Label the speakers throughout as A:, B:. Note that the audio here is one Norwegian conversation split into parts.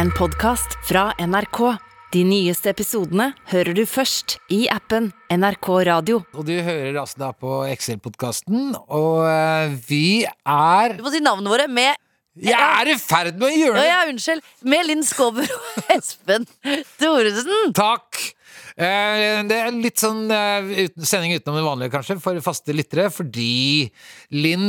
A: En podcast fra NRK. De nyeste episodene hører du først i appen NRK Radio.
B: Og du hører altså da på Excel-podkasten, og eh, vi er
C: Du må si navnene våre med
B: Jeg er i ferd med å
C: Ja,
B: gjøre det!
C: ja, unnskyld. Med Linn Skåber og Espen Thoresen.
B: Takk! Eh, Det er litt sånn eh, uten- sending utenom det vanlige, kanskje, for faste lyttere, fordi Linn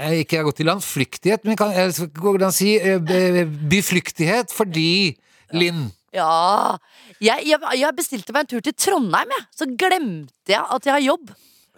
B: eh, ikke har gått i landflyktighet, men kan, eh, så går det an å si eh, be- byflyktighet fordi Linn
C: Ja. Jeg, jeg, jeg bestilte meg en tur til Trondheim, jeg. Så glemte jeg at jeg har jobb.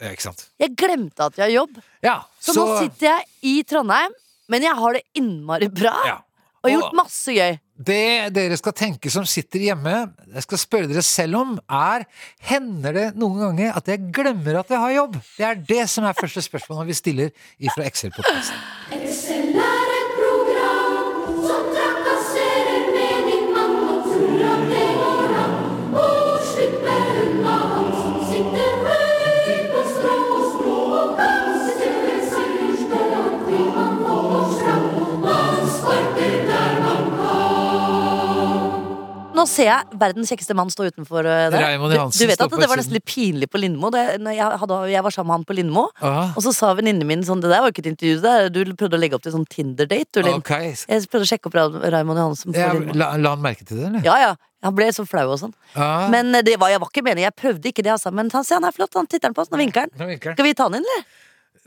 B: Ja, Ikke sant?
C: Jeg glemte at jeg har jobb.
B: Ja,
C: Så, nå sitter jeg i Trondheim, men jeg har det innmari bra.
B: ja.
C: Og har gjort masse gøy.
B: Det dere skal tenke som sitter hjemme, jeg skal spørre dere selv om, er Hender det noen ganger at jeg glemmer at jeg har jobb? Det er det som er første spørsmålet vi stiller ifra Excel-podkasten.
D: Excel er et program som trakasserer mening, mann og tror at det går an å slippe unna han som sitter høyt på strå og strå og kaster seierstøl og vil man få oss fram. Man sparker der man
C: Nå ser jeg verdens kjekkeste mann stå utenfor eh, der.
B: Raymond
C: Du-
B: Johansen
C: Du vet
B: står
C: at
B: på
C: det var
B: utsiden.
C: nesten litt pinlig på Lindmo. Det, når jeg, hadde, jeg var sammen med han på Lindmo,
B: Aha.
C: og så sa venninnen min sånn Det der var ikke et intervju, det der. du prøvde å legge opp til sånn Tinder-date, du, Linn.
B: Ok.
C: Jeg prøvde å sjekke opp Ra- Raymond Johansen. på
B: Ja,
C: Lindmo.
B: la, la han merke til det, eller?
C: Ja, ja. Han ble så flau og sånn.
B: Ja.
C: Men eh, det var, jeg var ikke meningen. Jeg prøvde ikke det, altså. Men han, se, han er flott. Han titter han på oss. Nå vinker han.
B: Nå vinker han.
C: Skal vi ta han inn, eller?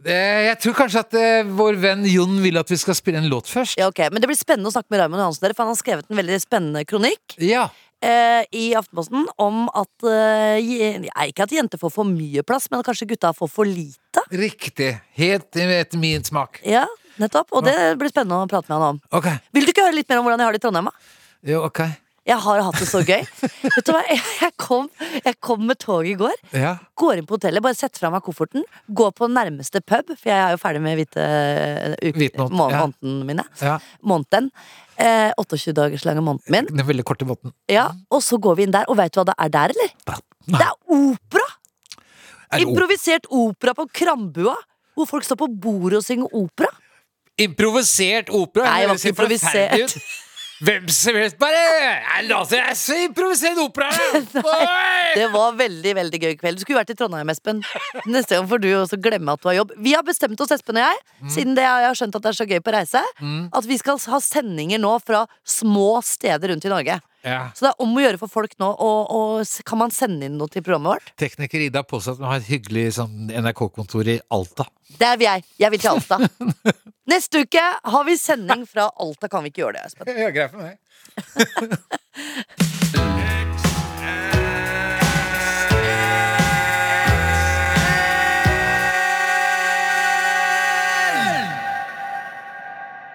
B: Eh, Jeg tror kanskje at eh, vår venn Jon vil at vi skal spille en låt først.
C: Ja, ok. Men det blir spennende å snakke med Raymond Johansen, dere, for han har skrevet en veldig spennende kronikk
B: Ja.
C: eh, i Aftenposten om at eh, je- Nei, ikke at jenter får for mye plass, men kanskje gutta får for lite.
B: Riktig. Helt etter min smak.
C: Ja, nettopp. Og det blir spennende å prate med han om.
B: Ok.
C: Vil du ikke høre litt mer om hvordan jeg har det i Trondheim? da?
B: Jo, ok.
C: Jeg har hatt det så gøy. Vet du hva, jeg, jeg, kom, jeg kom med toget i går.
B: Ja.
C: Går inn på hotellet, bare setter fra meg kofferten, går på nærmeste pub, for jeg er jo ferdig med hvite eh,
B: Hvitmåned,
C: måneden
B: ja.
C: mine.
B: ja.
C: Måneden. Eh, 28 dagers lange måneden min.
B: Den veldig korte båten.
C: Ja, og så går vi inn der, og veit du hva det er der, eller? Det er opera!
B: Er det o-
C: Improvisert opera på Krambua. Hvor folk står på bordet og synger opera.
B: Improvisert opera?
C: Nei, det var
B: høres jo
C: ikke improvisert.
B: forferdelig ut. Hvem som helst bare Jeg later jeg er så improvisert opera! Oi!
C: Det var veldig veldig gøy kveld. Du skulle vært i Trondheim, Espen. Neste gang får du også glemme at du har jobb. Vi har bestemt oss, Espen og jeg,
B: Mm.
C: siden det, jeg har skjønt at det er så gøy på reise, at vi skal ha sendinger nå fra små steder rundt i Norge.
B: Ja.
C: Så det er om å gjøre for folk nå, og, og s- kan man sende inn noe til programmet vårt?
B: Tekniker Ida påstår at hun har et hyggelig sånn, NRK-kontor i Alta.
C: Der vil jeg. Jeg vil til Alta. Neste uke har vi sending fra Alta. Kan vi ikke gjøre det, Espen?
B: Ja, greit for meg.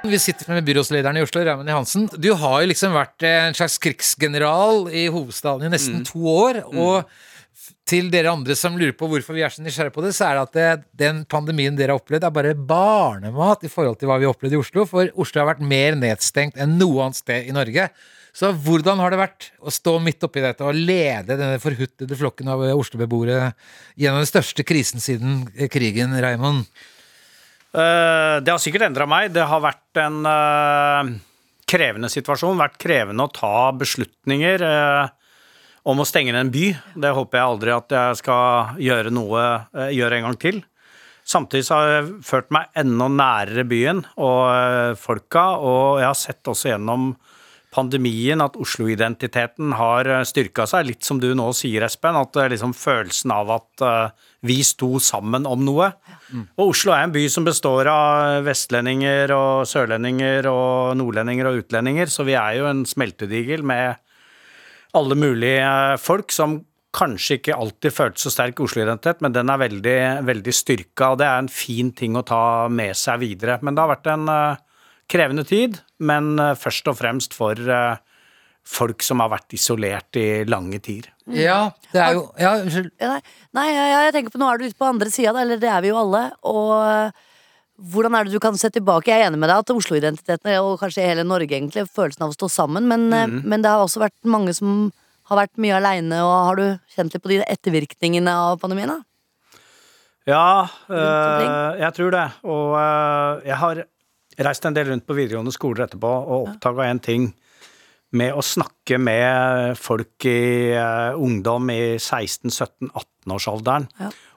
B: Vi sitter med byrådslederen i Oslo, Raymond Johansen. Du har jo liksom vært en slags krigsgeneral i hovedstaden i nesten to år. Og f- til dere andre som lurer på hvorfor vi er så nysgjerrige på det, så er det at det, den pandemien dere har opplevd, er bare barnemat i forhold til hva vi har opplevd i Oslo. For Oslo har vært mer nedstengt enn noe annet sted i Norge. Så hvordan har det vært å stå midt oppi dette og lede denne forhuttede flokken av eh, Oslo-beboere gjennom den største krisen siden eh, krigen, Raymond?
E: Eh, Det har sikkert endra meg. Det har vært en eh, krevende situasjon. Vært krevende å ta beslutninger eh, om å stenge ned en by. Det håper jeg aldri at jeg skal gjøre noe eh, gjøre en gang til. Samtidig så har jeg ført meg enda nærere byen og eh, folka, og jeg har sett også gjennom pandemien at Oslo-identiteten har eh, styrka seg, litt som du nå sier, Espen, at eh, liksom følelsen av at eh, vi sto sammen om noe. Og Oslo er en by som består av vestlendinger og sørlendinger og nordlendinger og utlendinger, så vi er jo en smeltedigel med alle mulige eh, folk som kanskje ikke alltid følte så sterk Oslo-identitet, men den er veldig, veldig styrka, og det er en fin ting å ta med seg videre. Men det har vært en eh, krevende tid, men eh, først og fremst for eh, folk som har vært isolert i lange tider.
B: Ja, det er jo Ja, unnskyld.
C: Ja, Nei, nei ja, ja, jeg tenker på nå er du ute på andre sida, eller det er vi jo alle. Og eh, hvordan er det du kan se tilbake? Jeg er enig med deg at Oslo-identiteten og kanskje hele Norge egentlig, følelsen av å stå sammen, men, eh, men det har også vært mange som har vært mye aleine, og har du kjent litt på de ettervirkningene av pandemien? da?
E: Ja,
C: omkring?
E: eh, jeg tror det. Og eh, jeg har reist en del rundt på videregående skoler etterpå og oppdaga en ting med å snakke med folk i eh, ungdom i 16-17-18-årsalderen.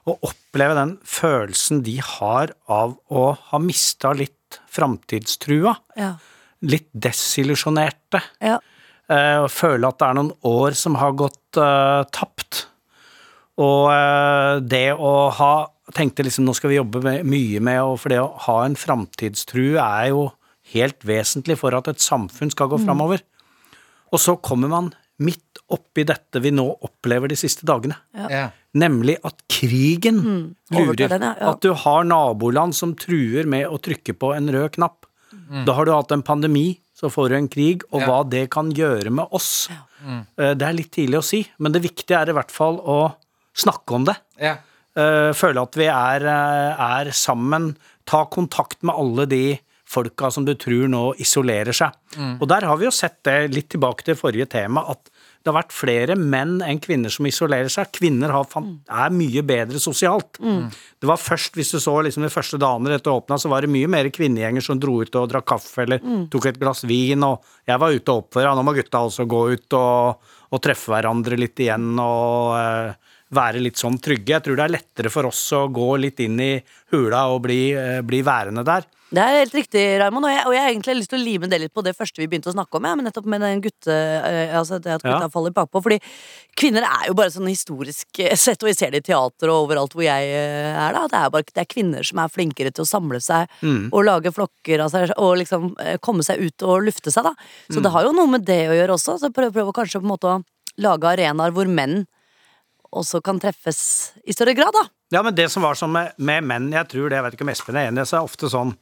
E: Og oppleve den følelsen de har av å ha mista litt framtidstrua.
C: Ja.
E: Litt desillusjonerte.
C: Ja.
E: eh, Og føle at det er noen år som har gått eh, tapt. Og eh, det å ha Tenkte liksom nå skal vi jobbe med, mye med og For det å ha en framtidstru er jo helt vesentlig for at et samfunn skal gå framover. Og så kommer man midt oppi dette vi nå opplever de siste dagene.
B: Ja.
E: Nemlig at krigen
C: Mm. overtar
E: lurer.
C: den, ja, ja.
E: At du har naboland som truer med å trykke på en rød knapp. Da har du hatt en pandemi, så får du en krig, og
B: Ja.
E: hva det kan gjøre med oss. Eh, Det er litt tidlig å si, men det viktige er i hvert fall å snakke om det.
B: Ja.
E: Eh, Føle at vi er, eh, er sammen. Ta kontakt med alle de folka som du tror nå isolerer seg. Og der har vi jo sett det litt tilbake til forrige tema, at det har vært flere menn enn kvinner som isolerer seg. Kvinner har, fan- er mye bedre sosialt. Det var først, hvis du så liksom de første dagene dette åpna, så var det mye mer kvinnegjenger som dro ut og drakk kaffe eller tok et glass vin, og jeg var ute og oppførte meg. Nå må gutta også gå ut og, og treffe hverandre litt igjen og eh, være litt sånn trygge. Jeg tror det er lettere for oss å gå litt inn i hula og bli, eh, bli værende der.
C: Det er helt riktig, Raymond. Og jeg, og jeg har egentlig lyst til å lime det litt på det første vi begynte å snakke om. Ja, men nettopp med den gutte, eh, altså det at gutta
E: Ja.
C: faller bakpå. Fordi kvinner er jo bare sånn historisk eh, sett, og vi ser det i teater og overalt hvor jeg eh, er, da. at Det er, bare, det er kvinner som er flinkere til å samle seg og lage flokker av seg og liksom eh, komme seg ut og lufte seg, da. Så det har jo noe med det å gjøre også. Så prøv, prøv å kanskje på en måte å lage arenaer hvor menn også kan treffes i større grad, da.
E: Ja, men det som var sånn med, med menn, jeg tror det, jeg vet ikke om Espen er enig, så er ofte sånn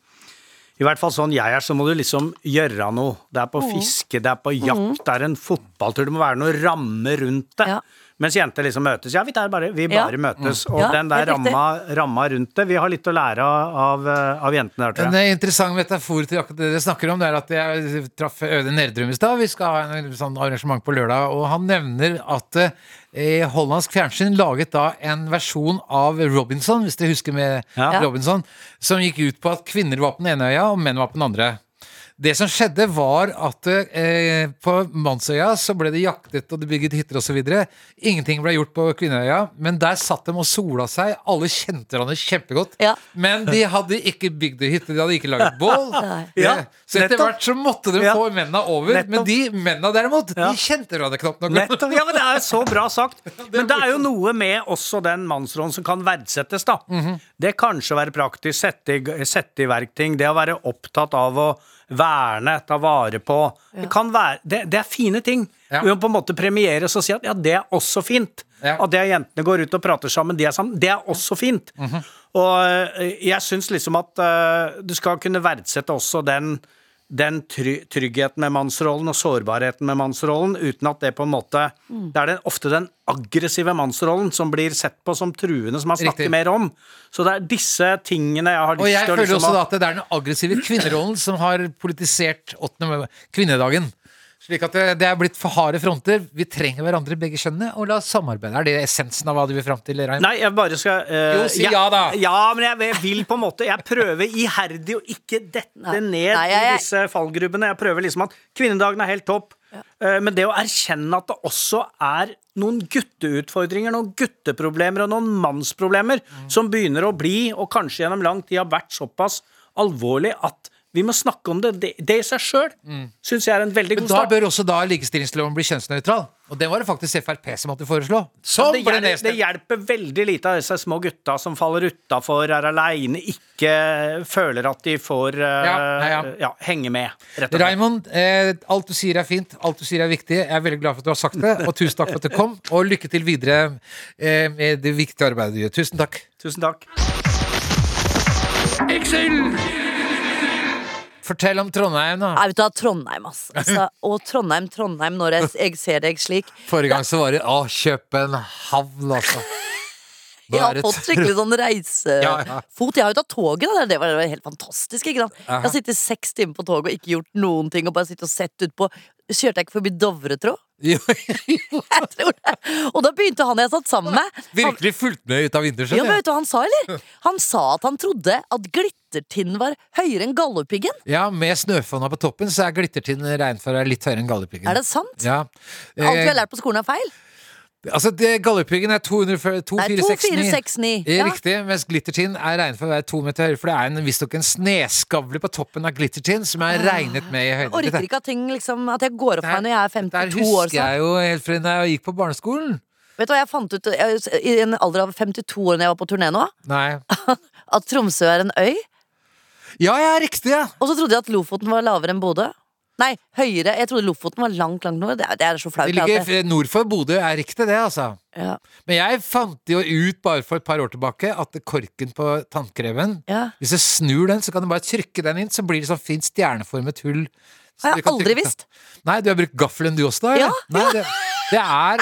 E: I hvert fall sånn jeg er, så må du liksom gjøre noe. Det er på
C: Mm.
E: fiske, det er på jakt, det er en fotballtur, det må være noe ramme rundt det.
C: Ja.
E: Mens jenter liksom møtes. Ja, vi, der bare, vi
C: Ja. Mm.
E: bare møtes. Og
C: Ja,
E: den der
C: helt riktig.
E: ramma, ramma rundt det Vi har litt å lære av, av jentene der, tror jeg.
B: En eh, interessant metafor til akkurat det dere snakker om, det er at jeg eh, traff Øyvind Nerdrum i stad. Vi skal ha en sånn arrangement på lørdag, og han nevner at eh, hollandsk fjernsyn laget da en versjon av Robinson, hvis dere husker med
E: Ja.
B: Robinson, som gikk ut på at kvinner var på den ene øya, og menn var på den andre. Det som skjedde, var at eh, på Mannsøya så ble det jaktet og det bygget hytter osv. Ingenting ble gjort på Kvinneøya, men der satt de og sola seg. Alle kjente hverandre kjempegodt.
C: Ja.
B: Men de hadde ikke bygd ei hytte, de hadde ikke laget bål.
C: Nei.
B: Eh,
E: Ja,
B: så etter
E: nettopp.
B: hvert så måtte de
E: Ja.
B: få mennene over. Men
E: Nettopp.
B: de mennene derimot,
E: Ja.
B: de kjente hverandre knapt nok.
E: Nettopp. Ja, men Det er så bra sagt. Men det er jo noe med også den mannsrollen som kan verdsettes, da. Det kanskje å være praktisk, sette i, g- sette i verk ting, det å være opptatt av å verne, ta vare på. Det, kan være, det, det er fine ting.
B: Ja.
E: Vi må på en måte premieres og si at ja, det er også fint.
B: Ja.
E: At det er jentene går ut og prater sammen, de er sammen, det er også fint.
B: Mhm.
E: Og eh, jeg syns liksom at eh, du skal kunne verdsette også den, den try tryggheten med mannsrollen og sårbarheten med mannsrollen, uten at det på en måte Det er den, ofte den aggressive mannsrollen som blir sett på som truende, som man snakker
B: Riktig.
E: mer om. Så det er disse tingene jeg har
B: Og jeg
E: lyst til å
B: føler
E: liksom
B: også da
E: ha-
B: at det er den aggressive kvinnerollen som har politisert 8. mai- kvinnedagen. Slik at det, det er blitt for harde fronter. Vi trenger hverandre begge kjønnene, og la oss samarbeide. Er det essensen av hva du vil fram til, Reim?
E: Nei, jeg bare skal eh,
B: Jo, si
E: jeg-
B: ja da.
E: Ja, men jeg, jeg vil på en måte Jeg prøver iherdig å ikke dette
C: Nei.
E: ned
C: Nei, jeg-
E: i disse fallgrubbene. Jeg prøver liksom at kvinnedagen er helt topp. eh, Men det å erkjenne at det også er noen gutteutfordringer, noen gutteproblemer og noen mannsproblemer
B: Mm.
E: som begynner å bli, og kanskje gjennom lang tid har vært såpass alvorlig at vi må snakke om det. Det, det i seg sjøl syns jeg er en veldig
B: Mm. Men
E: god
B: da
E: start.
B: bør også da likestillingsloven bli kjønnsnøytral. Og det var det faktisk Frp som måtte foreslå.
E: Ja,
B: Som
E: det,
B: ble
E: hjelper, det
B: nedstemt!
E: hjelper veldig lite av disse små gutta som faller utafor, er aleine, ikke føler at de får
B: Ja,
E: eh,
B: ja,
E: ja,
B: ja.
E: henge med. Rett og slett.
B: Raymond, eh, alt du sier er fint, alt du sier er viktig. Jeg er veldig glad for at du har sagt det, og tusen takk for at du kom. Og lykke til videre eh, med det viktige arbeidet du gjør. Tusen takk.
E: Tusen takk.
B: Fortell om Trondheim, da.
C: Nei, vet du hva, Trondheim, ass. altså. Og Trondheim, Trondheim, når jeg, jeg ser deg slik.
B: Forrige gang så var det Å, København, altså.
C: Jeg har
B: Bare
C: fått
B: tørr.
C: skikkelig sånn
B: Ja, ja.
C: reisefot. Jeg har jo tatt toget, da. Det var, det var helt fantastisk. ikke sant? Jeg har sittet seks timer på toget og ikke gjort noen ting. Og bare sittet og sett ut på Kjørte jeg ikke forbi Dovre, tro?
B: Jo,
C: Jeg tror det. Og da begynte han jeg satt sammen med han,
B: Virkelig fulgt med ut
C: ja,
B: av
C: men
B: vintersjøen.
C: vet du hva han sa, eller? Han sa at han trodde at glittertind var høyere enn gallopiggen.
B: Ja, med snøfonna på toppen så er glittertind regnføre litt høyere enn Galdhøpiggen.
C: Er det sant?
B: Ja.
C: Alt vi har
B: Eh,
C: lært på skolen er feil.
B: altså, det- Galdhøpiggen er 2469.
C: 2469.
B: Eh,
C: Ja.
B: Riktig, mens glittertind er regnet for å være to meter høyere, for det er en- visstnok en sneskavle på toppen av glittertind som er regnet med i høyden.
C: Ah, Orker
B: Dette-
C: ikke at ting liksom At jeg går opp
B: Der-
C: meg når jeg er
B: Der
C: 52 år.
B: husker
C: snart.
B: jeg jo helt fra da jeg gikk på barneskolen.
C: Vet du hva jeg fant ut jeg, i en alder av 52 år når jeg var på turné nå?
B: Nei.
C: At Tromsø er en øy.
B: Ja, ja, riktig, ja!
C: Og så trodde jeg at Lofoten var lavere enn Bodø. Nei, høyere. Jeg trodde Lofoten var langt, langt nord. Det er, det er så flaut.
B: Det
C: at
B: ligger
C: jeg-
B: f- nord for Bodø, er riktig det, altså.
C: ja.
B: Men jeg fant jo ut bare for et par år tilbake at korken på tannkremen
C: Ja.
B: Hvis du snur den, så kan du bare trykke den inn, så blir det sånn fint stjerneformet hull. Så
C: Har
B: du
C: jeg
B: kan
C: aldri
B: trykke-
C: visst.
B: Nei, du har brukt gaffelen du også, da? eller?
C: Ja,
B: Nei, det, det er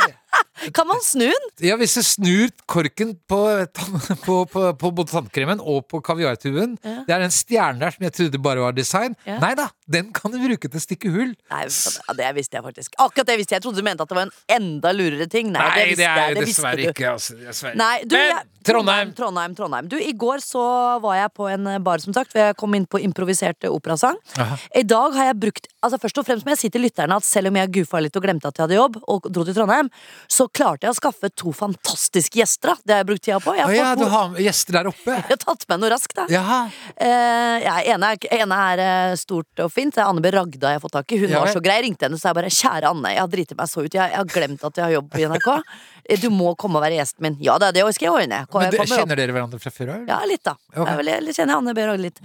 C: Kan man snu den?
B: Ja, hvis du snur korken på, tann- på, på, på både tannkremen og på kaviartuben
C: Ja.
B: Det er den stjernen der som jeg trodde bare var design.
C: Ja.
B: Nei da, den kan du bruke til å stikke hull.
C: Nei, ja, det visste jeg faktisk. Akkurat det visste jeg. Jeg trodde du mente at det var en enda lurere ting. Nei, det visste jeg. Det visste du.
B: ikke. Altså, dessverre.
C: Nei, du,
B: Men
C: jeg,
B: Trondheim!
C: Trondheim, Trondheim. Du, I går så var jeg på en eh, bar, som sagt. hvor Jeg kom inn på improvisert eh, operasang.
B: Aha.
C: I dag har jeg brukt altså Først og fremst må jeg si til lytterne at selv om jeg goofa litt og glemte at jeg hadde jobb, og dro til Trondheim, så klarte jeg å skaffe to fantastiske gjester. da. Det har jeg brukt tida på. Jeg
B: Å
C: har,
B: ja,
C: fått
B: du
C: noe-
B: har med gjester der oppe?
C: jeg har tatt med noe raskt, da.
B: Jaha.
C: Eh, ja, ene, er, ene er eh, stort og fint. Det er Anne B. Ragda jeg har fått tak i. Hun
B: Ja,
C: var
B: vel.
C: så grei. Jeg ringte henne og sa jeg bare 'Kjære Anne, jeg har driti meg så ut. Jeg, jeg har glemt at jeg har jobb i NRK. Eh, Du må komme og være gjesten min.' 'Ja da, det skal jeg ordne.' Kom,
B: Men
C: jeg
B: du,
C: kommer opp.
B: kjenner dere hverandre fra før av? eller?
C: Ja, litt, da.
B: Ok. Mm.
C: Jeg, vil, jeg kjenner Anne B. Ragde litt.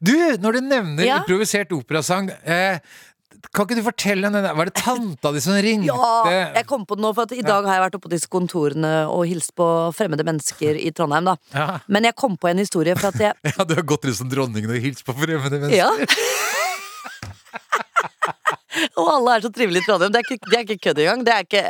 B: Du, når du nevner
C: Ja.
B: improvisert operasang eh, Kan ikke du fortelle om den der Var det tanta di som ringte?
C: Ja, jeg kom på det nå, for at i dag har jeg vært oppe på disse kontorene og hilst på fremmede mennesker i Trondheim, da.
B: Ja.
C: Men jeg kom på en historie for at jeg
B: Ja, du har gått rundt som dronningen og hilst på fremmede mennesker.
C: Ja. Og alle er så trivelige i Trondheim. Det er ikke, det er ikke kødd engang. Det er ikke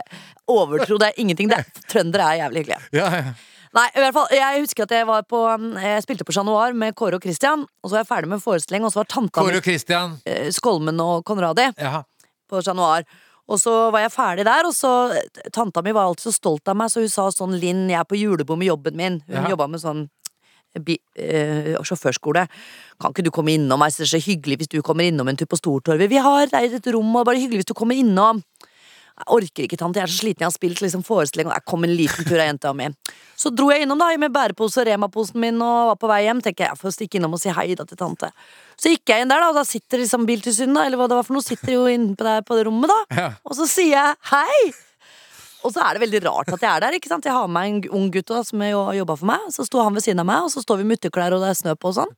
C: overtro, det er ingenting. Det er, trøndere er jævlig hyggelige.
B: Ja, ja.
C: Nei, i hvert fall, jeg husker at jeg var på Jeg spilte på Chat Noir med Kåre og Christian, og så var jeg ferdig med forestilling, og så var tanta
B: Kåre
C: mi
B: og Christian.
C: eh, Skolmen og Konradi.
B: Ja.
C: på Chat Noir. Og så var jeg ferdig der, og så eh, Tanta mi var alltid så stolt av meg, så hun sa sånn Linn, jeg er på julebord med jobben min. Hun
B: Ja.
C: jobba med sånn bi, eh, sjåførskole. Kan ikke du komme innom? Jeg synes det er så hyggelig hvis du kommer innom en tur på Stortorvet. Vi har leid et rom, og bare hyggelig hvis du kommer innom. Jeg orker ikke, tante. Jeg er så sliten. Jeg har spilt liksom forestilling. og Jeg kom en liten tur av jenta mi. Så dro jeg innom da, med bærepose og Rema-posen min og var på vei hjem. Tenker jeg, jeg får stikke innom og si hei da til tante. Så gikk jeg inn der, da, og da sitter liksom Biltilsynet, da, eller hva det var for noe, sitter jo inne på, der, på det rommet, da.
B: Ja.
C: Og så sier jeg hei! Og så er det veldig rart at jeg er der. ikke sant? Jeg har med en ung gutt da, som jo har jobba for meg. Så sto han ved siden av meg, og så står vi med uteklær og det er snø på og sånn.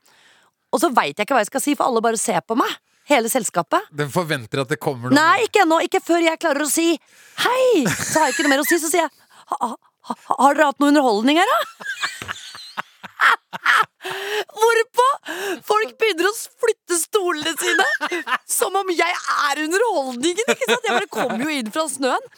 C: Og så veit jeg ikke hva jeg skal si, for alle bare ser på meg. Hele selskapet.
B: Den forventer at det kommer noen.
C: Nei, ikke ennå. Ikke før jeg klarer å si hei. Så har jeg ikke noe mer å si. Så sier jeg ha, ha, ha, Har dere hatt noe underholdning her, da? Hvorpå folk begynner å flytte stolene sine som om jeg er underholdningen! ikke sant? Jeg bare kom jo inn fra snøen.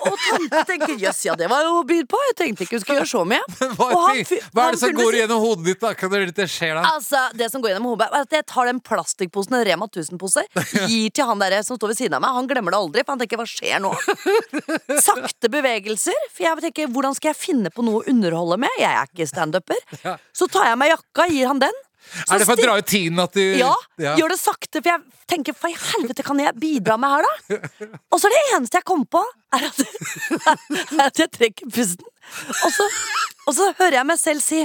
C: Og tante tenker jøss, ja, det var jo å by på. Jeg tenkte ikke hun skulle gjøre så mye.
B: Hva,
C: Og han
B: tenk-
C: fyr-
B: hva
C: han
B: er det som
C: fyren ved
B: går
C: siden-
B: gjennom hodet ditt da? Kan du det skjer da?
C: Altså, det som går gjennom hodet er at jeg tar den plastikkposen, en Rema 1000-pose, gir til han der som står ved siden av meg. Han glemmer det aldri, for han tenker 'hva skjer nå'? Sakte bevegelser. For jeg tenker 'hvordan skal jeg finne på noe å underholde med'? Jeg er ikke standuper. Så tar jeg meg jakka, gir han den. Så
B: Er det for å
C: stikk-
B: dra ut tiden at du
C: ja, gjør det sakte, for jeg tenker hva i helvete kan jeg bidra med her, da? Og så er det eneste jeg kom på, er at, er at jeg trekker pusten. Og så, og så hører jeg meg selv si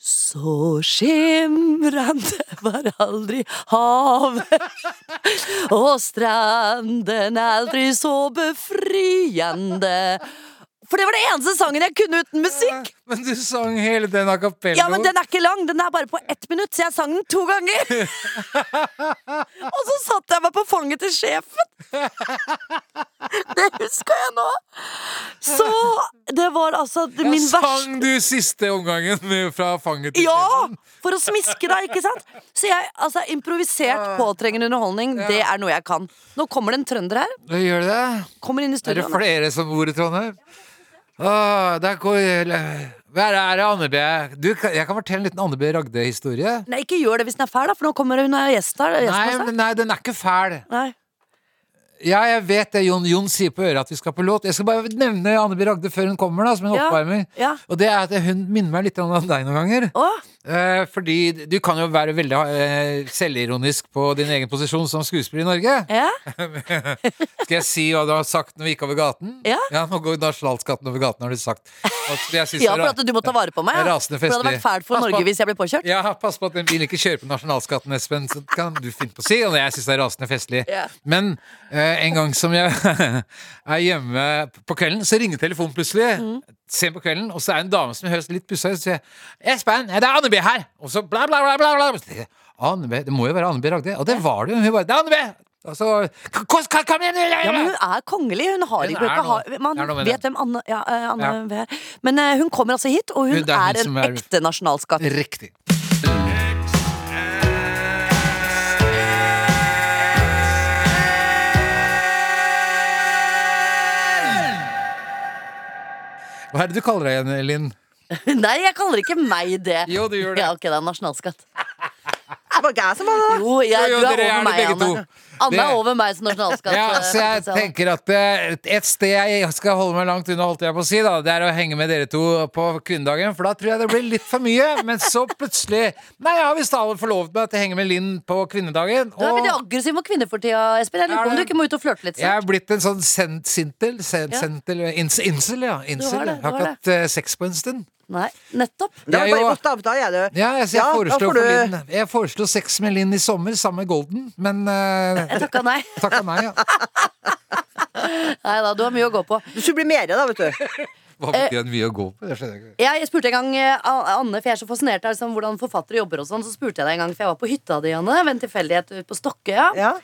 C: Så skimrende var aldri havet, og stranden aldri så befriende. For det var det eneste sangen jeg kunne uten musikk!
B: Men du sang hele den a cappella.
C: Ja, men den er ikke lang, den er bare på ett minutt, så jeg sang den to ganger. og så satte jeg meg på fanget til sjefen. Det husker jeg nå. Så det var altså det- min verste
B: Sang du siste omgangen med, fra fanget til
C: ja!
B: sjefen?
C: For å smiske deg, ikke sant? Så jeg, altså, improvisert påtrengende underholdning, det er noe jeg kan. Nå kommer det en trønder her.
B: Gjør det?
C: Kommer inn i
B: Er det
C: studio. nå.
B: flere som bor i Trondheim? Åh, der går Hva er det, Anne B? Du, kan- jeg kan fortelle en liten Anne B. Ragde-historie.
C: Nei, ikke gjør det hvis den er fæl, da, for nå kommer hun og gjester.
B: Nei, men nei, den er ikke fæl.
C: Nei.
B: Ja, jeg vet det Jon, Jon sier på øret at vi skal på låt. Jeg skal bare nevne Anne B. Ragde før hun kommer, da, som en
C: Ja,
B: oppvarming.
C: ja.
B: Og det er at hun minner meg litt om deg noen ganger.
C: Å,
B: Eh, fordi du kan jo være veldig eh, selvironisk på din egen posisjon som skuespiller i Norge.
C: ja?
B: Skal jeg si hva du har sagt når vi gikk over gaten?
C: Ja.
B: nå går nasjonalskatten over gaten, har du sagt. Og jeg synes det
C: ja,
B: er
C: for
B: ra-
C: at du må ta vare på meg.
B: Det er
C: Ja.
B: rasende
C: For det hadde vært
B: festlig.
C: fælt for
B: Pass på
C: Norge
B: at-
C: hvis jeg ble påkjørt.
B: Ja, pass på at den bilen ikke kjører på nasjonalskatten, Espen. Så kan du finne på å si, og jeg syns det er rasende festlig.
C: Ja.
B: Men eh, en gang som jeg er hjemme på kvelden, så ringer telefonen plutselig.
C: Mm.
B: Sent på kvelden, og så er det en dame som høres litt pussa ut, og sier 'Espen, ja, det er Anne B her!' Og så bla, bla, bla, bla. bla. Og så tenker jeg, Anne B, Det må jo være Anne B Ragde. Og det var det jo. Hun bare 'Det er Anne B!' Og så «Kom- kom, kom igjen,
C: Ja, men hun
B: ja,
C: er kongelig. Hun har
B: Hun
C: ikke,
B: er
C: ikke
B: noe.
C: ha- Man
B: Det er noe med
C: vet
B: det.
C: hvem Anne, ja, eh, Anne
B: Ja.
C: V er. Men eh, hun kommer altså hit, og hun,
B: Hun- det er hun
C: er,
B: som
C: en
B: er-
C: ekte nasjonalskatt.
B: Riktig. Hva er det du kaller deg igjen, Linn?
C: Nei, jeg kaller ikke meg det.
B: Jo, du gjør det.
C: Ja, ok, det er nasjonalskatt.
F: Er det bare jeg som har det?
C: Jo, jeg,
B: Jo, jo,
C: du er over
B: dere er det
C: meg,
B: begge
C: Anne.
B: to.
C: Anne
B: Det-
C: er over meg som nasjonalskatt.
B: Ja,
C: eh,
B: så jeg
C: potensial.
B: tenker at eh, et sted jeg skal holde meg langt unna, holdt jeg på å si, da, det er å henge med dere to på kvinnedagen, for da tror jeg det blir litt for mye. Men så plutselig Nei, jeg har visst alle forlovet meg til å henge med Linn på kvinnedagen.
C: Du er
B: og-
C: veldig aggressiv mot kvinner for tida, Espen. Jeg
B: Er
C: lurer på om du
B: det-
C: ikke må ut og flørte litt.
B: Jeg
C: snart.
B: er blitt en sånn sen sintel sen,
C: Ja.
B: sentel, eh, ins, Insel, ja. Insel.
C: har det,
B: Jeg har
C: du
B: ikke
C: har
B: hatt eh, sex på en stund.
C: Nei, nettopp.
F: Det
B: Jeg
F: var bare
B: jo-
F: godt avtale, jeg, du.
B: Ja, jeg, så jeg,
F: Ja, da
B: foreslo
F: får
B: for
F: du-
B: Linn, jeg foreslo sex med Linn i sommer sammen med Golden, men uh,
C: Jeg takka nei.
B: takka nei. Ja.
C: Nei da, du har mye å gå på.
F: Du skulle bli mer, da, vet du.
B: Hva betyr det mye å gå på? Det skjønner jeg ikke.
C: Jeg spurte en gang eh, A- Anne, for jeg er så fascinert av liksom, hvordan forfattere jobber og sånn. Så spurte jeg deg en gang, for jeg var på hytta di, Anne, ved en tilfeldighet ute på Stokkøya.
F: Ja.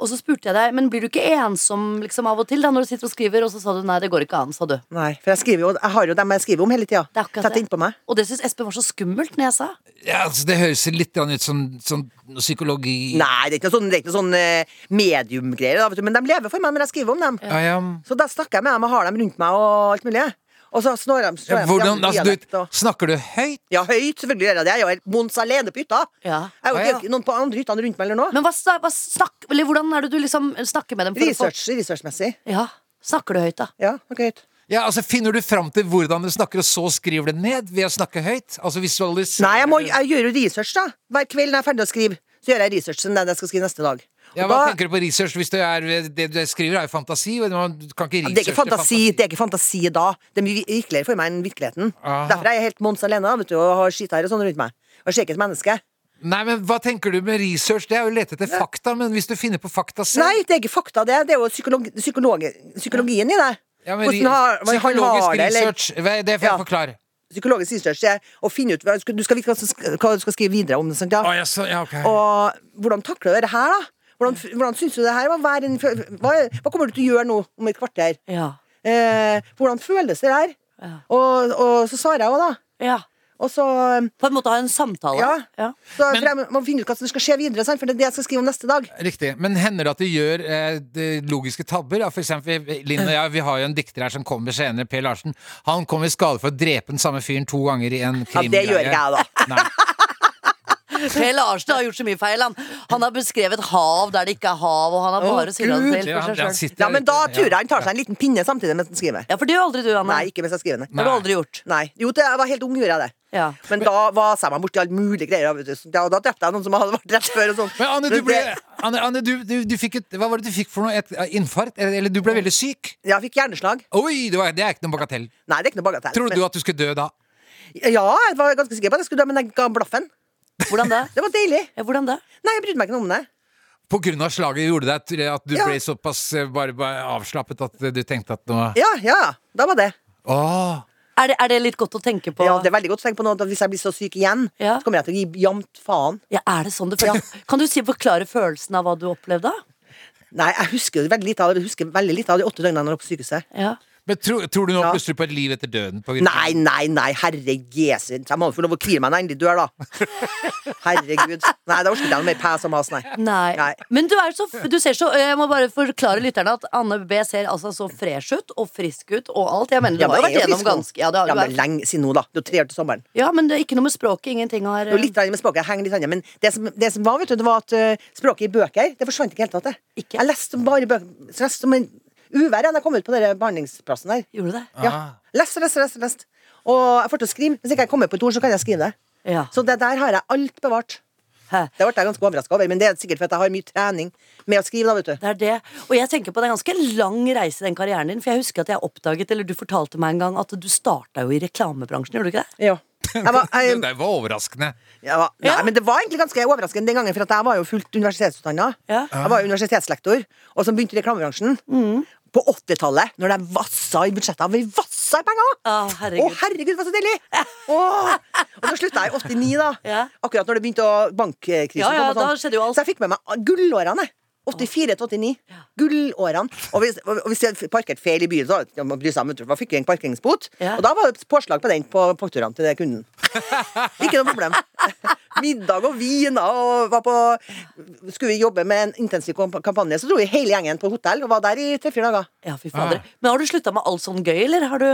C: Og så spurte jeg deg, men blir du ikke ensom liksom, av og til da når du sitter og skriver? Og så sa du nei, det går ikke an, sa du.
F: Nei, for jeg, skriver jo, jeg har jo dem jeg skriver om hele tida.
C: Det er akkurat
F: Tett
C: det.
F: innpå meg.
C: Og det syns Espen var så skummelt når jeg sa.
B: Ja, altså, det høres litt grann ut som, som psykologi
F: Nei, det er ikke noe sånn, det er ikke noe sånn eh, mediumgreier, da, vet du. men de lever for meg når jeg skriver om dem.
B: Ja, ja.
F: Så da snakker jeg med dem og har dem rundt meg og alt mulig. Og så snår de.
B: Ja,
F: slår de
B: hvordan,
F: sammen
B: altså, du,
F: dialekt og-
B: snakker du høyt?
F: Ja, høyt, selvfølgelig gjør jeg det. Jeg er jo helt mons alene på hytta.
C: Ja.
F: Jeg er jo
B: Ja, ja.
F: ikke noen på andre hyttene rundt meg eller noe.
C: Men hva, sa- hva snakk, eller, hvordan er det du liksom snakker med dem? for å få-
F: Research, researchmessig.
C: Ja, Snakker du høyt, da?
F: Ja, noe høyt.
B: Ja, altså, finner du fram til hvordan du snakker, og så skriver du det ned ved å snakke høyt? Altså visualiserer
F: Nei, jeg, må,
B: du-
F: jeg gjør jo research, da. Hver kveld når jeg er ferdig å skrive, så gjør jeg research til den jeg skal skrive neste dag. Og
B: Ja,
F: da,
B: Hva tenker du på research hvis det er det du skriver, er jo fantasi? og Man kan ikke
F: det er ikke
B: researche
F: fantasi, det er ikke fantasi da. Det er mye virkeligere for meg enn virkeligheten.
B: Aha.
F: Derfor er jeg helt Mons alene da, vet du, og har skithær og sånn rundt meg. Og ser ikke et menneske.
B: Nei, men Hva tenker du med research? Det er jo å lete etter fakta, men hvis du finner på fakta selv
F: Nei, det er ikke fakta, det. Det er jo psykolog, psykolog, psykologien i det.
B: ja, men,
F: Hvordan har, hva han har
B: Psykologisk
F: det, eller
B: research, hva- det får jeg
F: Ja.
B: forklare.
F: psykologisk research er å finne ut hva du skal- Du skal vite hva som sk- hva du skal skrive videre om det. Sant, ja?
B: Å, ja, så, ja, ok.
F: Og hvordan takler du det her, da? Hvordan, hvordan syns du det her var? Hver en, hva, hva kommer du til å gjøre nå om et kvarter?
C: Ja.
F: Eh, hvordan føles det der? Og, og så svarer jeg òg, da.
C: ja.
F: Og så,
C: På en måte ha en samtale.
F: Ja.
C: ja.
F: så
B: Men-
F: for jeg må finne ut hva som skal skje videre, sant? for det er det jeg skal skrive om neste dag.
B: Riktig. Men hender det at du gjør eh, de logiske tabber? Ja, for eksempel, Linn og jeg, vi har jo en dikter her som kommer senere, Per Larsen. Han kom i skade for å drepe den samme fyren to ganger i en
F: Ja,
B: krimgreie.
F: det gjør ikke jeg, da.
B: Nei.
C: Per Larsen har gjort så mye feil. Han, han har beskrevet hav der det ikke er hav, og han har bare surra
F: Gud.
C: det til
B: Ja, han-
C: for seg
B: han
C: sjøl.
B: sitter
F: Ja, men
B: litt-
F: da tror jeg
B: ja.
F: han tar seg en liten pinne samtidig mens han skriver.
C: Ja, for det gjør aldri du, Anne.
F: Nei, ikke mens jeg skriver den.
C: Det har du aldri gjort.
F: Nei. Jo, til jeg var helt ung, gjorde jeg det.
C: Ja.
F: Men da vasa jeg meg borti alle mulige greier. Vet du. Så Da, da drepte jeg noen som hadde vært drept før. Og sånn.
B: Men Anne, du
F: Men
B: ble,
F: det-
B: Anne, Anne du, du, du fikk et Hva var det du fikk for noe? Et eh, infarkt? Eller, eller du ble veldig syk?
F: Jeg fikk hjerneslag.
B: Oi, det, var, det er ikke noen bagatell.
F: Nei, det er ikke noe bagatell.
B: Tror du at du skulle dø da?
F: Men, ja, jeg var ganske sikker på at jeg skulle dø, men jeg ga blaffen.
C: Hvordan det?
F: Det var deilig.
C: Ja, hvordan det?
F: Nei, jeg brydde meg ikke noe om det.
B: På grunn av slaget gjorde det at- at du
F: Ja.
B: ble såpass eh, bare, bare avslappet at eh, du tenkte at nå
F: Ja, ja, da var det.
B: Åh,
C: Er det, er det litt godt å tenke på?
F: Ja, det er veldig godt å tenke på nå at hvis jeg blir så syk igjen,
C: Ja.
F: så kommer jeg til å gi jamt faen.
C: Ja, er det sånn det føles? Kan du si, forklare følelsen av hva du opplevde? da?
F: Nei, jeg husker jo veldig lite av det. Jeg husker veldig lite av de åtte døgnene jeg var på sykehuset.
C: Ja.
B: Men tror, tror du nå
F: Ja.
B: plutselig på et liv etter døden? På grunn av-
F: Nei, nei, nei, herre jesu. Jeg må få lov å hvile meg når jeg endelig dør, da. Herregud. Nei, da orker jeg ikke noe mer pæs om has, nei.
C: Nei.
F: Nei.
C: Men du er så, f- du ser så Jeg må bare forklare lytterne at Anne B ser altså så fresh ut og frisk ut og alt. Jeg mener du
F: Ja,
C: har
F: men jeg er
C: vært
F: jo
C: gjennom
F: frisk nå.
C: ganske Ja, det har,
F: Ja,
C: du
F: men
C: er-
F: lenge siden nå, da. Det er jo tre år til sommeren.
C: ja men det er ikke noe med språket. Ingenting har
F: Det er jo litt grann med språket, jeg henger litt grann, men det som, det som var, vet du, det var at eh, språket i bøker, det forsvant ikke i det hele tatt. det.
C: Ikke?
F: Jeg leste bare bøker, så leste som en uvær jeg, da jeg kom ut på den behandlingsplassen der.
C: eh, Gjorde det?
F: Ja. Lest, lest, lest, lest. Og jeg får til å skrive. Hvis ikke jeg kommer på et ord, så kan jeg skrive det.
C: Ja.
F: Så det der har jeg alt bevart.
C: Hæ.
F: Det ble jeg ganske overraska over, men det er sikkert fordi jeg har mye trening med å skrive, da, vet du.
C: Det er det. Og jeg tenker på det er en ganske lang reise, den karrieren din. For jeg husker at jeg oppdaget, eller du fortalte meg en gang, at du starta jo i reklamebransjen, gjorde du ikke det?
F: Ja. Jeg var, jeg,
B: Det var overraskende.
F: jeg var, nei,
C: Ja.
F: men det var egentlig ganske overraskende den gangen, for at jeg var jo fullt universitetsutdanna.
C: Ja. Mm.
F: Jeg var jo universitetslektor, og som begynte i reklamebransjen. På 80-tallet, når det vassa i budsjettene. Vi vassa i penger!
C: Å,
F: Å,
C: herregud.
F: herregud, hva så deilig! Åh! Og så slutta jeg i 89, da.
C: Ja.
F: Akkurat når det begynte å bankkrisen
C: Ja, ja,
F: kom. og sånn.
C: da skjedde jo alt.
F: Så jeg fikk med meg gullårene. 84 til 89. Gullårene. Og hvis, og hvis jeg parkerte feil i byen, så hadde man bry seg om, vet du, da fikk jeg en parkeringsbot.
C: Ja.
F: Og da var det påslag på den på fakturene til det kunden. Ikke noe problem. Middag og vin da, og var på Skulle vi jobbe med en intensiv kamp- kampanje, så dro vi hele gjengen på hotell og var der i tre-fire dager.
C: Ja, fy fader. Men har du slutta med alt sånn gøy, eller har du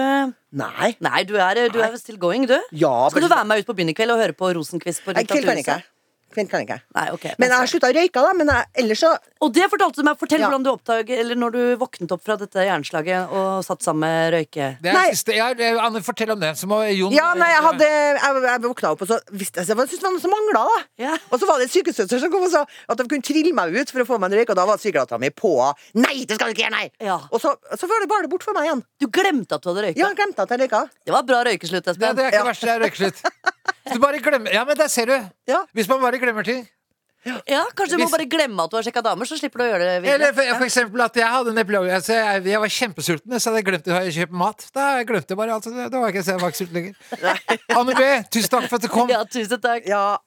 F: Nei.
C: Nei, du er, du er still going, du.
F: Ja,
C: Skal du
F: men-
C: være med ut på byen i kveld og høre på Rosenkvist på
F: Nei, Kveld kan jeg ikke.
C: Litteraturhuset?
F: Kveld kan jeg ikke.
C: Nei, ok.
F: Men jeg har slutta å røyke, da. Men jeg, ellers så
C: Og det fortalte du meg. Fortell
F: Ja.
C: hvordan du oppdaget, eller når du våknet opp fra dette jernslaget og satt sammen med røyke.
B: Det er
F: Nei.
B: siste, ja, det- Anne, fortell om det. Så må Jon
F: Ja, nei, jeg hadde Jeg, jeg våkna opp, og så visste jeg jeg syntes det var noe som mangla, da.
C: Ja.
F: Og så var det en sykesøster som kom og sa at de kunne trille meg ut for å få meg en røyk, og da var sykelatta mi på henne. Nei, det skal du ikke gjøre, nei!
C: Ja.
F: Og så, så var det bare bort for meg igjen.
C: Du glemte at du hadde røyka.
F: Ja, jeg glemte at jeg røyka.
C: Det var bra røykeslutt,
B: Det,
C: Espen.
B: det er ikke
F: Ja.
B: verst, det er røykeslutt. Hvis du bare glemmer Ja, men der ser du.
F: Ja.
B: Hvis man bare glemmer ting.
C: Ja, kanskje du må
B: Hvis-
C: bare glemme at du har sjekka damer, så slipper du å gjøre det videre.
B: Eller for, for eksempel at jeg hadde en epilog altså, jeg, jeg var kjempesulten, så hadde jeg glemt å kjøpe mat. Da glemte jeg bare alt. Da var jeg ikke, så jeg var ikke sulten lenger. Anne B, tusen takk for at du kom.
C: Ja, tusen takk.
F: Ja.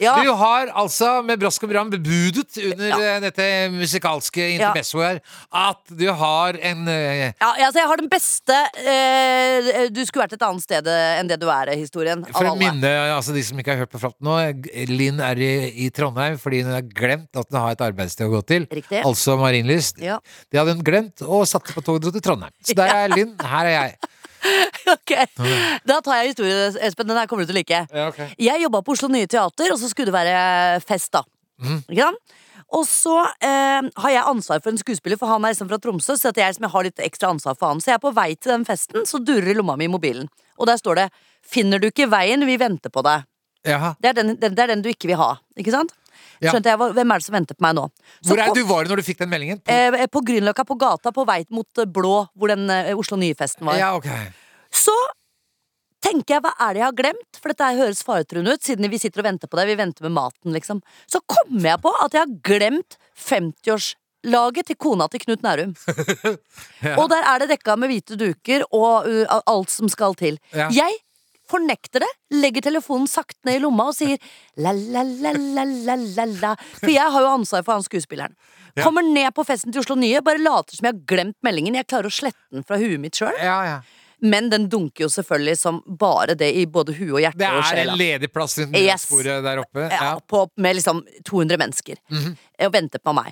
C: Ja,
B: Du har altså med brask og bram bebudet under eh, dette musikalske
C: Ja.
B: intermezzoet her at du har en eh,
C: ja altså, jeg har den beste eh, Du skulle vært et annet sted eh, enn det du er, historien. Av
B: For å
C: alle.
B: minne altså de som ikke har hørt på Frapp nå, eh, Linn er i, i Trondheim fordi hun har glemt at hun har et arbeidssted å gå til.
C: Riktig.
B: Altså Marienlyst.
C: Ja.
B: Det hadde hun glemt, og satte på toget til Trondheim. Så der er Linn, her er jeg.
C: Ok, Da tar jeg historien, Espen. Den her kommer du til å like.
B: Ja, ok.
C: Jeg jobba på Oslo Nye Teater, og så skulle det være fest, da.
B: Mhm.
C: Ikke sant? Og så eh, har jeg ansvar for en skuespiller, for han er liksom fra Tromsø. Så at jeg liksom har litt ekstra ansvar for han Så jeg er på vei til den festen, så durer lomma mi i mobilen. Og der står det 'Finner du ikke veien, vi venter på deg'.
B: Jaha.
C: Det er den, den, det er den du ikke vil ha. Ikke sant?
B: Ja.
C: Skjønte jeg, hva- Hvem er det som venter på meg nå? Så
B: Hvor er
C: kom-
B: du var når du fikk den meldingen? På-
C: Eh, på Grünerløkka, på gata, på vei mot eh, Blå, hvor den eh, Oslo Nye-festen var.
B: Ja, ok.
C: Så tenker jeg, hva er det jeg har glemt? For dette her høres faretruende ut, siden vi sitter og venter på deg. Vi venter med maten, liksom. Så kommer jeg på at jeg har glemt 50-årslaget til kona til Knut Nærum. Og der er det dekka med hvite duker og uh, alt som skal til.
B: Ja.
C: Jeg fornekter det, legger telefonen sakte ned i lomma og sier la-la-la-la-la-la. For jeg har jo ansvar for han skuespilleren. Kommer ned på festen til Oslo Nye, bare later som jeg har glemt meldingen. Jeg klarer å slette den fra huet mitt sjøl.
B: Ja, ja.
C: Men den dunker jo selvfølgelig som bare det i både huet og hjertet
B: Det
C: og
B: er
C: sjela.
B: en ledig plass rundt
C: Yes.
B: sporet der oppe. Ja. Mhm.
C: Ja, på, med liksom 200 mennesker og venter på meg.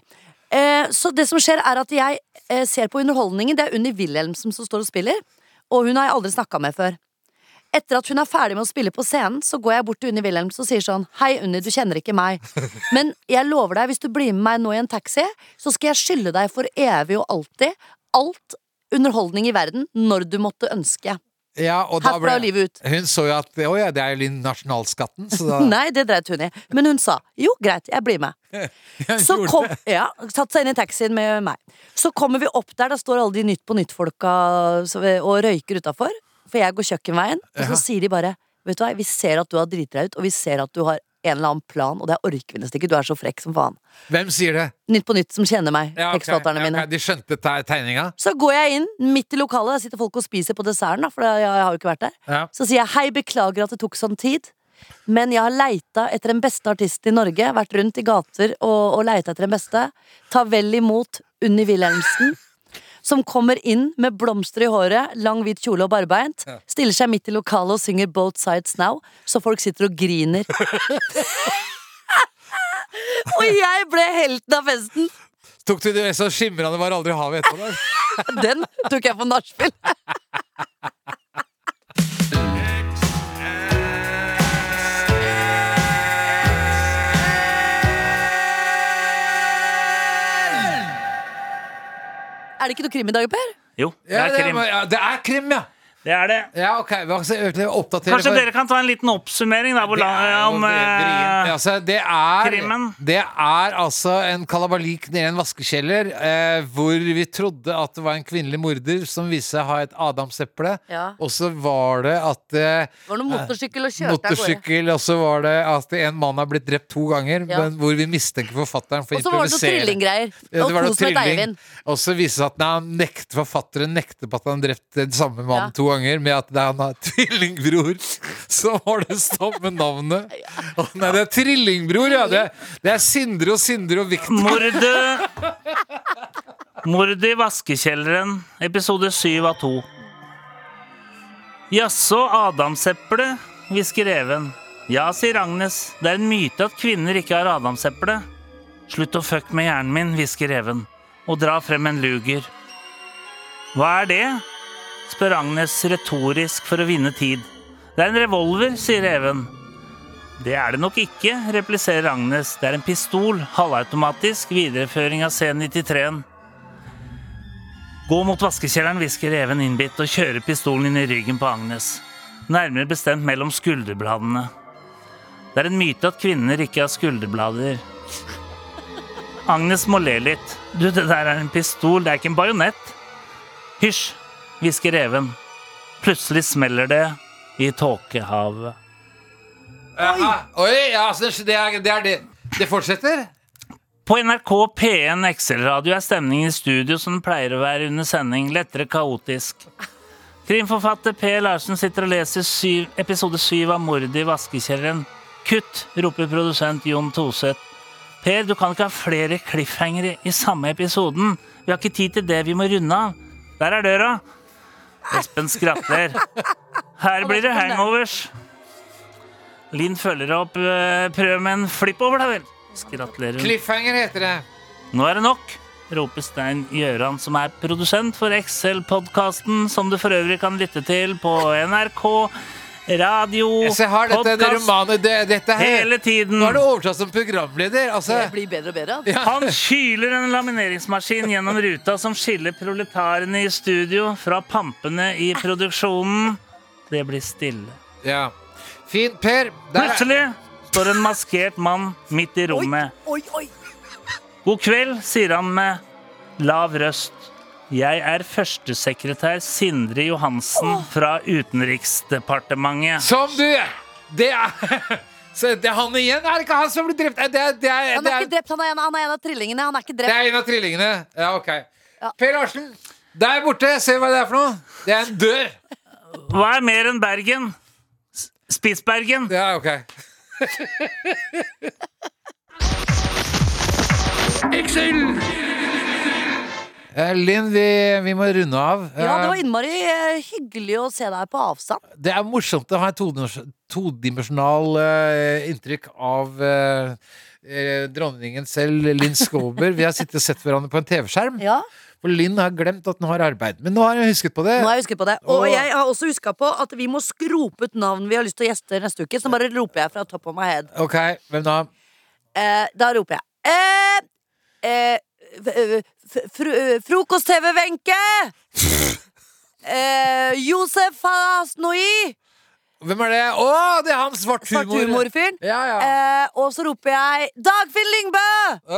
C: Eh, så det som skjer, er at jeg eh, ser på underholdningen. Det er Unni Wilhelmsen som står og spiller, og hun har jeg aldri snakka med før. Etter at hun er ferdig med å spille på scenen, så går jeg bort til Unni Wilhelmsen og sier sånn Hei, Unni, du kjenner ikke meg, men jeg lover deg, hvis du blir med meg nå i en taxi, så skal jeg skylde deg for evig og alltid alt underholdning i verden når du måtte ønske.
B: Ja, og da
C: Herfra
B: ble-
C: og livet ut.
B: Hun så jo at Å ja, det er jo Linn nasjonalskatten, så da
C: Nei, det dreit hun i. Men hun sa jo, greit, jeg blir med. Så
B: gjorde
C: kom, ja, Satt seg inn i taxien med meg. Så kommer vi opp der, da står alle de Nytt på Nytt-folka så vi- og røyker utafor. For jeg går kjøkkenveien, og så sier de bare Vet du hva, vi ser at du har driti deg ut, og vi ser at du har en eller annen plan, og det orker vi nesten ikke, du er så frekk som faen.
B: Hvem sier det?
C: Nytt på Nytt som kjenner meg,
B: Ja, ok.
C: tekstforfatterne
B: Ja,
C: mine.
B: ok, De skjønte te- tegninga?
C: Så går jeg inn midt i lokalet, der sitter folk og spiser på desserten, da, for jeg, jeg har jo ikke vært der.
B: Ja.
C: Så sier jeg hei, beklager at det tok sånn tid. Men jeg har leita etter den beste artisten i Norge. Vært rundt i gater og, og leita etter den beste. Ta vel imot Unni Wilhelmsen. Som kommer inn med blomster i håret, lang hvit kjole og barbeint. Stiller seg midt i lokalet og synger Both Sides Now, så folk sitter og griner. og jeg ble helten av festen!
B: Tok du det så skimrende var aldri havet etterpå? der?
C: Den tok jeg på nachspiel. Er det ikke noe krim i dag, Per?
G: Jo, det
B: Ja,
G: er krim.
B: ja, det er krim, ja!
G: Det er det.
B: Ja, ok, hva skal jeg oppdatere
G: Kanskje
B: for-
G: dere kan ta en liten oppsummering da, hvor
B: Det er jo
G: lang, om
B: vrient.
G: eh,
B: altså, det, er,
G: krimmen.
B: det er altså en kalabalik nede i en vaskekjeller eh, hvor vi trodde at det var en kvinnelig morder som viste seg å ha et adamseple,
C: Ja.
B: og så var det at eh,
C: Det var noe motorsykkel og kjørte av gårde.
B: Motorsykkel, og så var det at en mann har blitt drept to ganger,
C: Ja.
B: men hvor vi mistenker forfatteren for å
C: Og så var det noe
B: improvisere.
C: trillinggreier.
B: Ja,
C: Og
B: det var noe
C: kos med
B: trylling.
C: Eivind.
B: Og så viser det seg at nei, han nekter, forfatteren nekter på at han drepte den samme
C: Ja.
B: mannen to ganger, med at det er han har tvillingbror som har det samme navnet. Å, nei, det er trillingbror, ja. Det, det er Sindre og Sindre og Victor.
G: mordet Mordet i vaskekjelleren, episode 7 av 2. Jaså, adamseple, hvisker Even. Ja, sier Agnes, det er en myte at kvinner ikke har adamseple. Slutt å fuck med hjernen min, hvisker Even, og dra frem en luger. Hva er det? spør Agnes retorisk for å vinne tid. Det er en revolver, sier Even. Det er det nok ikke, repliserer Agnes. Det er en pistol, halvautomatisk, videreføring av C93-en. Gå mot vaskekjelleren, hvisker Even innbitt, og kjører pistolen inn i ryggen på Agnes. Nærmere bestemt mellom skulderbladene. Det er en myte at kvinner ikke har skulderblader. Agnes må le litt. Du, det der er en pistol, det er ikke en bajonett. Hysj, hvisker Even. Plutselig smeller det i tåkehavet.
B: Aha. Oi, ja, altså, det, er, det er det. Det fortsetter?
G: På NRK P1 XL-radio er stemningen i studio som den pleier å være under sending, lettere kaotisk. Krimforfatter P. Larsen sitter og leser syv, episode syv av Mordet i vaskekjelleren. Kutt, roper produsent Jon Toseth. Per, du kan ikke ha flere cliffhangere i samme episoden. Vi har ikke tid til det, vi må runde av. Der er døra. Espen skratter. Her blir det hangovers. Linn følger opp. eh, Prøv med en flipp over, da vel. Gratulerer.
B: Cliffhanger heter det.
G: Nå er det nok, roper Stein Gjøran, som er produsent for Excel-podkasten, som du for øvrig kan lytte til på NRK, radio,
B: Jeg har dette, det
G: podcast,
B: romanet det, dette her.
G: hele tiden.
B: Nå er du overtatt som programleder. Altså,
C: Det blir bedre og bedre. altså.
G: Han kyler en lamineringsmaskin gjennom ruta som skiller proletarene i studio fra pampene i produksjonen. Det blir stille.
B: ja. Fint, Per. Der er-
G: Plutselig står en maskert mann midt i rommet.
C: Oi, oi.
G: God kveld, sier han med lav røst. Jeg er førstesekretær Sindre Johansen fra Utenriksdepartementet.
B: Som du Det er så det, Han igjen er ikke han som blir drept. Det, er- det, er-
C: Han
B: det,
C: er
B: er,
C: ikke drept, han er en, han er en av trillingene. Han er ikke
B: det
C: drept.
B: er en av trillingene. Ja, ok.
C: Ja.
B: Per Larsen, der borte. Se hva det er for noe. Det er en dør.
G: Hva er mer enn Bergen? S- Spitsbergen.
B: Ja, ok. Eh, Linn, vi, vi må runde av.
C: Ja, det var
B: Eh,
C: innmari eh, hyggelig å se deg på avstand.
B: det er morsomt å ha et todimensj- todimensjonal eh, inntrykk av eh, eh, dronningen selv, Linn Skåber. Vi har sittet og sett hverandre på en TV-skjerm.
C: Ja,
B: For Linn har glemt at hun har arbeid. Men nå har hun husket på det.
C: nå har jeg husket på det. Og
B: Og-
C: jeg har også huska på at vi må skrope ut navn vi har lyst til å gjeste neste uke. Så bare roper jeg fra top of my head.
B: Ok, hvem da?
C: Eh, da roper jeg eh, eh, f- f- eh, fr- Frokost-TV, Wenche! Eh, Josef Hasnoi!
B: Hvem er det? Å, det er han svart humor.
C: Svart humorfyren.
B: Ja, ja.
C: Eh, og så roper jeg Dagfinn Lyngbø!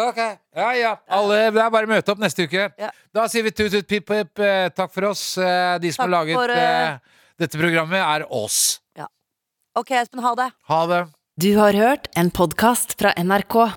B: Ok. Ja, ja. Alle, det er bare å møte opp neste uke.
C: Ja.
B: Da sier vi tut, tut, pip, pip. eh, Takk for oss. Eh, De som
C: Takk
B: har laget
C: for, eh,
B: eh, dette programmet, er oss.
C: Ok, Espen, ha det.
B: Ha det.
A: Du har hørt en podkast fra NRK.